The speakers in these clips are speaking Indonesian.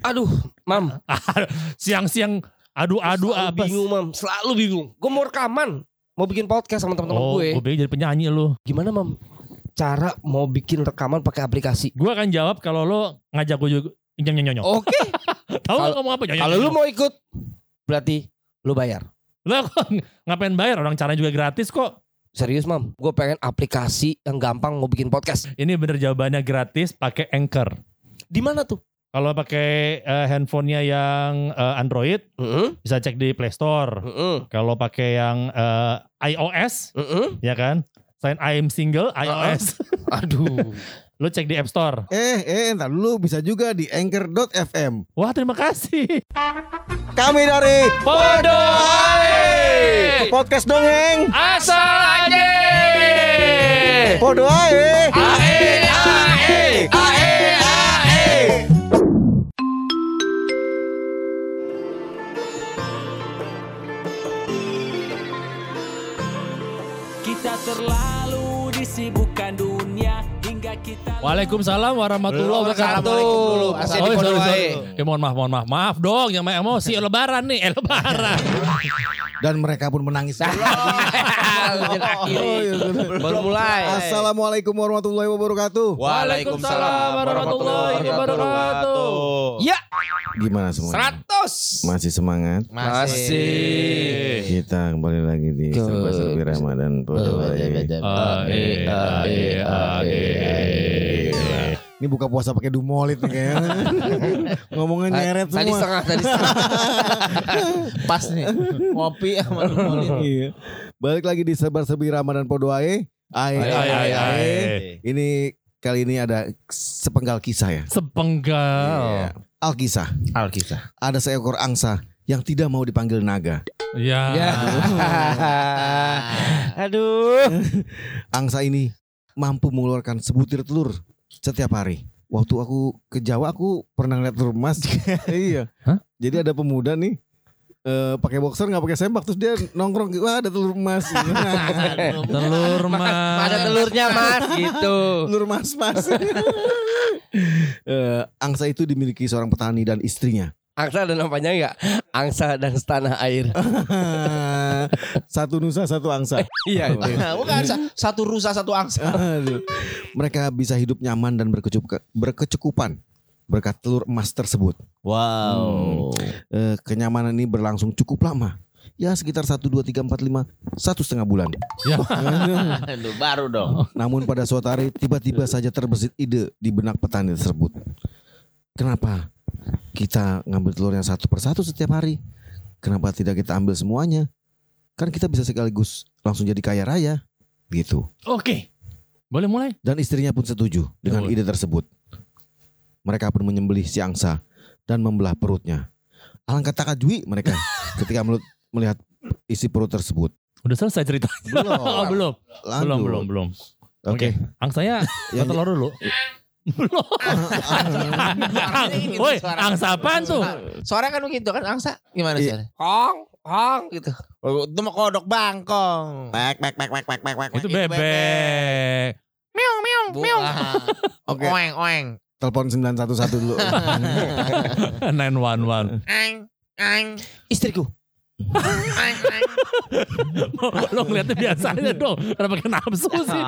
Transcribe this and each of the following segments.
Aduh, Mam. Siang-siang adu-adu ah, selalu apa? Bingung, Mam. Selalu bingung. Gue mau rekaman. Mau bikin podcast sama teman-teman oh, gue. gue pikir jadi penyanyi lu. Gimana, Mam? Cara mau bikin rekaman pakai aplikasi. Gue akan jawab kalau lo ngajak gue juga nyong nyong nyong. Oke. Tahu lo Oh, kalau- ngomong apa? Nyong, Kalau nyong, lu nyong. mau ikut, berarti lu bayar. Lo kok ngapain bayar orang caranya juga gratis kok. Serius, Mam. Gue pengen aplikasi yang gampang mau bikin podcast. Ini bener jawabannya gratis pakai Anchor. Di mana tuh? Kalau pakai eh, handphonenya yang eh, Android Heeh. bisa cek di Play Store. Heeh. Kalau pakai yang eh, iOS Heeh. ya kan? Sign I am single iOS. Ah, Aduh. lo cek di App Store. Eh, eh, entar dulu bisa juga di anchor.fm. Wah, terima kasih. Kami dari Podo podcast dongeng. asal aja. Podo ae. Ah. Kita terlalu disibukkan dunia hingga kita Waalaikumsalam warahmatullahi wabarakatuh. Assalamualaikum. Asal di Oh, Podo sorry, sorry. ae. Eh, mohon maaf, mohon maaf, maaf dong. Yang main emosi lebaran nih, eh, lebaran. Dan mereka pun menangis. Oh, iya, bener. Baru mulai. Assalamualaikum warahmatullahi wabarakatuh. Waalaikumsalam warahmatullahi wabarakatuh. Ya, Gimana semuanya? 100. Masih semangat? Masih. Kita kembali lagi di Ke- serba-serbi Ramadan Podo ae. Ae, ae, ae, ae. Ini buka puasa pakai dumolit nih kayaknya. Ngomongnya nyeret semua. Tadi setengah, tadi setengah. pas nih ngopi sama Dumolit. Iya. Balik lagi di Sebar Sebi Ramadan Podoae. Ae, Ae, ae, ae, ae. Eh. Ini kali ini ada sepenggal kisah ya. Iya. Sepenggal. Alkisah. Alkisah. Ada seekor angsa yang tidak mau dipanggil naga. Ya. Aduh. Angsa ini mampu mengeluarkan sebutir telur setiap hari. Waktu aku ke Jawa aku pernah ngeliat telur emas. iya. Hah? Jadi ada pemuda nih eh, pakai boxer nggak pakai sempak terus dia nongkrong wah ada telur emas Telur Mas, ada mas. telurnya mas gitu. Telur mas-mas. Eh, angsa itu dimiliki seorang petani dan istrinya. Angsa dan apanya enggak? Angsa dan setanah air. satu nusa, satu angsa. Iya itu. Bukan sa- satu rusa satu angsa. Aduh. Mereka bisa hidup nyaman dan berkecup- berkecukupan berkat telur emas tersebut. Wow. Eh, kenyamanan ini berlangsung cukup lama. Ya sekitar 1, 2, 3, 4, 5, satu setengah bulan. Aduh, baru dong. Namun pada suatu hari tiba-tiba saja terbesit ide di benak petani tersebut. Kenapa kita ngambil telur yang satu persatu setiap hari? Kenapa tidak kita ambil semuanya? Kan kita bisa sekaligus langsung jadi kaya raya gitu. Oke. Boleh mulai? Dan istrinya pun setuju dengan Betul. ide tersebut. Mereka pun menyembelih si angsa dan membelah perutnya. Alangkah takajui mereka ketika melut- melihat isi perut tersebut. Udah selesai cerita. Oh, Belum. belum. Lanjut. Belum, belum, belum. Oke. Angsanya Yang- telur dulu. Belum. Woi, angsa apaan tuh? Suara kan begitu kan angsa. Gimana Iya. sih? Kong, kong gitu. Itu mah kodok bangkong. Pak pak pak pak pak pak pak. Itu bebek. Meong meong meong. Oke. Oeng oeng. Telepon 911 dulu. 911. Ang ang Istriku. ang ang. Lo ngeliatnya biasa aja dong. Kenapa pakai nafsu sih?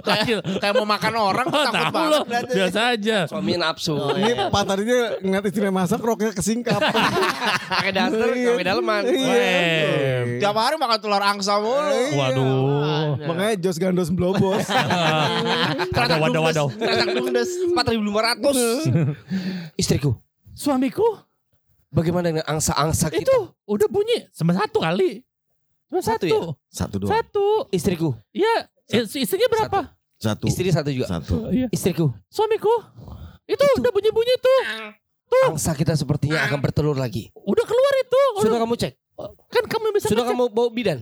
Laki, Kayak mau makan orang oh, takut tahu lo. banget. berarti. Biasa aja. Suami nafsu. Ini Pak tadinya ngeliat istrinya masak roknya kesingkap. Iya. Pakai daster, Iya. pakai daleman. Iya. Weh. Tiap hari makan telur angsa mulu. Iya. Waduh. Makanya Jos Gandos Blobos. Waduh, waduh, waduh. Ternyata ludes 4500. Istriku, Suamiku bagaimana dengan angsa-angsa kita? itu udah bunyi sama satu kali. Cuma Satu satu. ya? Satu doang. Satu. Istriku. Iya. is- Isinya berapa? Satu. Istri satu juga. Satu. Iya. Istriku, Suamiku. Itu, udah bunyi-bunyi tuh. angsa kita sepertinya akan bertelur lagi. Udah keluar itu. Udah, Sudah kamu cek? kan kamu yang bisa Sudah ngecek. kamu bawa bidan?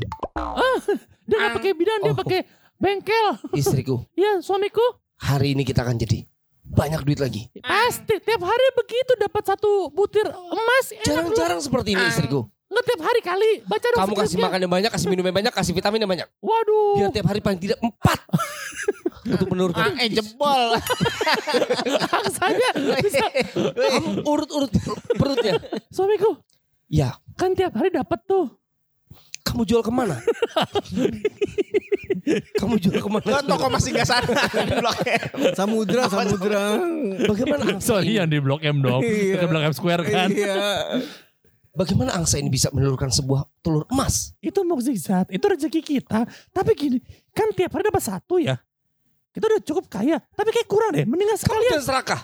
Dia nggak pakai bidan, dia Oh. pakai bengkel. Istriku, Ya suamiku hari ini kita akan jadi banyak duit lagi. pasti tiap hari begitu dapat satu butir emas. Enak lu. Jarang-jarang seperti ini istriku. Nggak tiap hari kali. Baca dong Kamu kasih skripnya. makan Ya. yang banyak, kasih minum yang banyak, kasih vitamin yang banyak. Waduh. Biar tiap hari paling tidak empat. Untuk menurunkan. Eh jebol. Angsanya bisa. iya. Kamu urut-urut perutnya. Suamiku Ya, kan tiap hari dapat tuh. kamu jual kemana? kamu jual kemana? Kan toko masih gak sana di Blok M. Samudra, samudra. Bagaimana angsa Sorry ini? yang di Blok M dong. Iya. Ke Blok M Square kan. Iya. Bagaimana angsa ini bisa menelurkan sebuah telur emas? Itu mukjizat, itu rezeki kita. Tapi gini, kan tiap hari dapat satu ya. Kita udah cukup kaya, tapi kayak kurang deh. Mendingan Kamu sekalian. jangan serakah.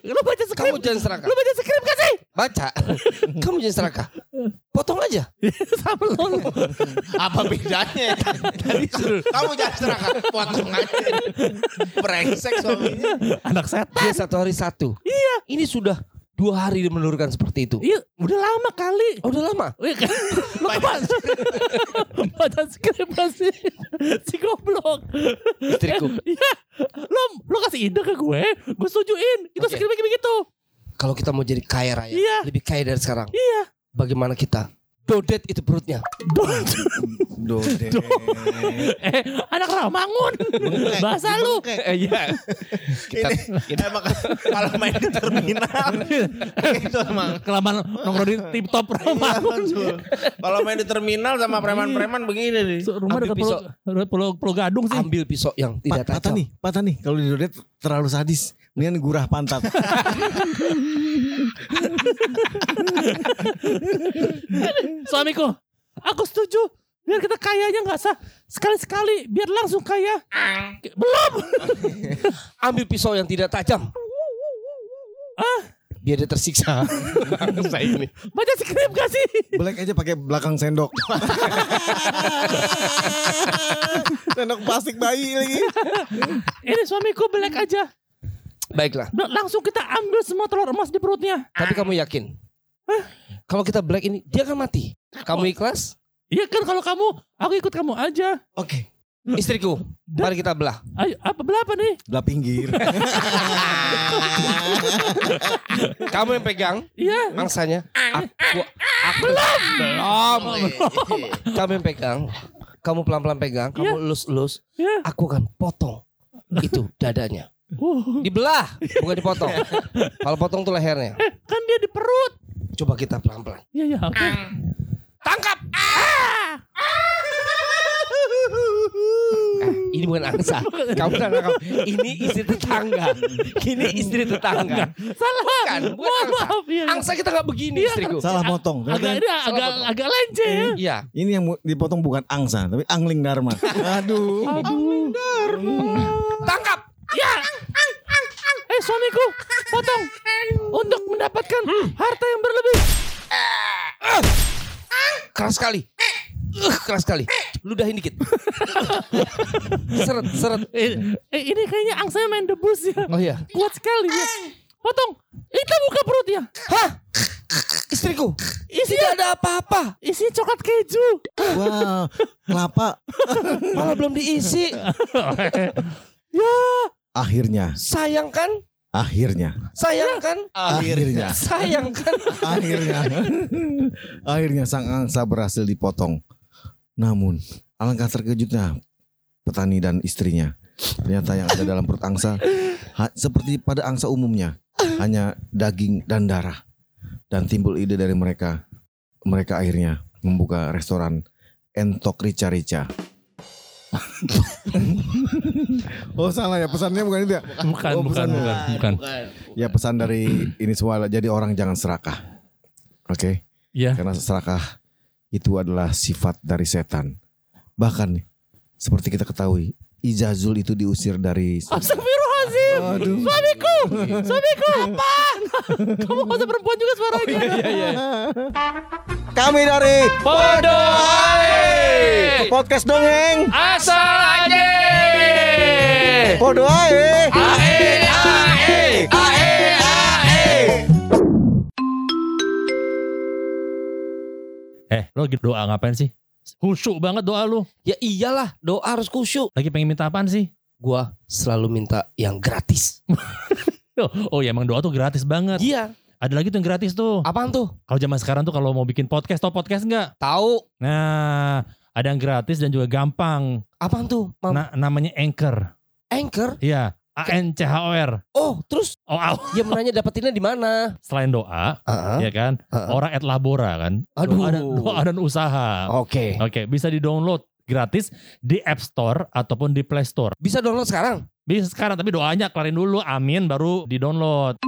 Lu baca skrip. Kamu jangan serakah. Lu baca skrip gak sih? Baca. Kamu jangan serakah. Potong aja. Sama lu. Apa bedanya? Tadi kamu jangan serakah. Potong aja. Brengsek suaminya. Anak setan. Dia satu hari satu. Iya. Ini sudah dua hari menelurkan seperti itu. Iya, udah lama kali. Oh, udah lama. Wih, kan- Lu kemana? Baca skrip gak sih? Si goblok. Istriku. Iya. Lu, lu kasih ide ke gue, gue setujuin. Itu Oke. skripnya kayak begitu. Kalau kita mau jadi kaya raya. Iya. Lebih kaya dari sekarang. Iya. Bagaimana kita? Dodet itu perutnya. Dode. eh, anak Ramangun. Bahasa lu. Iya. Kita, kita emang kalau main di terminal itu emang Kelamaan nongkrong di tip top Ramangun. Iya, Kalau main di terminal sama preman-preman begini nih. So, rumah Ambil dekat pulau, dekat pulau, pulau Gadung sih. Ambil pisau yang tidak patah tajam. nih, patah nih. Kalau di Dode terlalu sadis. Mendingan gurah pantat. Suamiku, aku setuju. Biar kita kayanya nggak sah. Sekali-sekali biar langsung kaya. Belum. Ambil pisau yang tidak tajam. Ah, Biar dia tersiksa. Angsa ini. Baca skrip gak sih? Black aja pakai belakang sendok. sendok plastik bayi lagi. Ini suamiku belek aja. Baiklah. Bel- Langsung kita ambil semua telur emas di perutnya. Tapi kamu yakin? Kalau kita black ini, dia akan mati. Kamu ikhlas? Iya kan kalau kamu, aku ikut kamu aja. Oke. Istriku, mari kita belah. Ayo, apa berapa nih? Belah pinggir. Kamu yang pegang Iya. mangsanya. Aku, aku belum. Belum. Iya, Kamu yang pegang. Kamu pelan-pelan pegang, kamu elus-elus. Iya. Aku akan potong itu dadanya. Uh, Dibelah, bukan dipotong. Kalau potong tuh lehernya. kan dia di perut. Coba kita pelan-pelan. Iya, iya. oke. Nah, Tangkap. Ah. Eh, ini bukan angsa. Kamu salah nangkap. Ini istri tetangga. Ini istri tetangga. Kan, Salah. Bukan, bukan Mohon angsa. maaf. Iya, iya. Angsa kita nggak begini istriku. Salah motong. Agak ini agak potong. agak lenje ya. Iya. Ini yang mu- dipotong bukan angsa, tapi angling dharma. Aduh. Aduh. Tangkap. Ya. Eh suamiku, potong untuk mendapatkan harta yang berlebih. Keras sekali. Uh, keras sekali. Ludahin dikit. seret, seret. Eh, eh, ini kayaknya angsanya main debus ya. Oh iya. Kuat sekali ya. Potong. Itu buka perutnya. Hah? Istriku. Iya. Tidak ada apa-apa. Isinya coklat keju. Wah, kelapa. Malah belum diisi. Akhirnya, Sayang kan? akhirnya, Sayang Iya. kan? akhirnya, Sayang kan? akhirnya, akhirnya sang angsa berhasil dipotong. Namun, alangkah terkejutnya petani dan istrinya. Ternyata yang ada dalam perut angsa ha- seperti pada angsa umumnya, hanya daging dan darah. Dan timbul ide dari mereka, mereka akhirnya membuka restoran Entok Rica Rica. oh salah ya pesannya bukan itu ya? Bukan, Oh, bukan, bukan. bukan, bukan. Ya pesan dari ini semua lah, jadi orang jangan serakah. Oke, Ya, karena serakah itu adalah sifat dari setan. Bahkan nih, seperti kita ketahui, Ijazul itu diusir dari Astagfirullahaladzim Aduh. Suamiku Suamiku Apa Kamu kok perempuan juga suaranya Kami dari Podoai podcast dongeng Asal aja Podo ae. Ae Ae Ae Ae Eh lo lagi doa ngapain sih Khusyuk banget doa lu Ya iyalah doa harus kusyuk Lagi pengen minta apaan sih Gua selalu minta yang gratis iya, Loh, Oh ya emang doa tuh gratis banget Iya Ada lagi tuh yang gratis tuh. Apaan tuh? Kalau zaman sekarang tuh kalau mau bikin podcast, tau podcast nggak? Tahu. Nah, ada yang gratis dan juga gampang. Apaan tuh? Mam? Nah, namanya Anchor. Anchor. Iya, A N C H O R. Oh, terus Oh, au. dia menanya dapetinnya di mana? selain doa, Heeh. ya kan? Heeh. Orang at labora kan. Aduh. Doa dan, doa dan usaha. Oke. Oke, bisa di-download gratis di App Store ataupun di Play Store. Bisa download sekarang? Bisa sekarang tapi doanya kelarin dulu, amin baru di-download.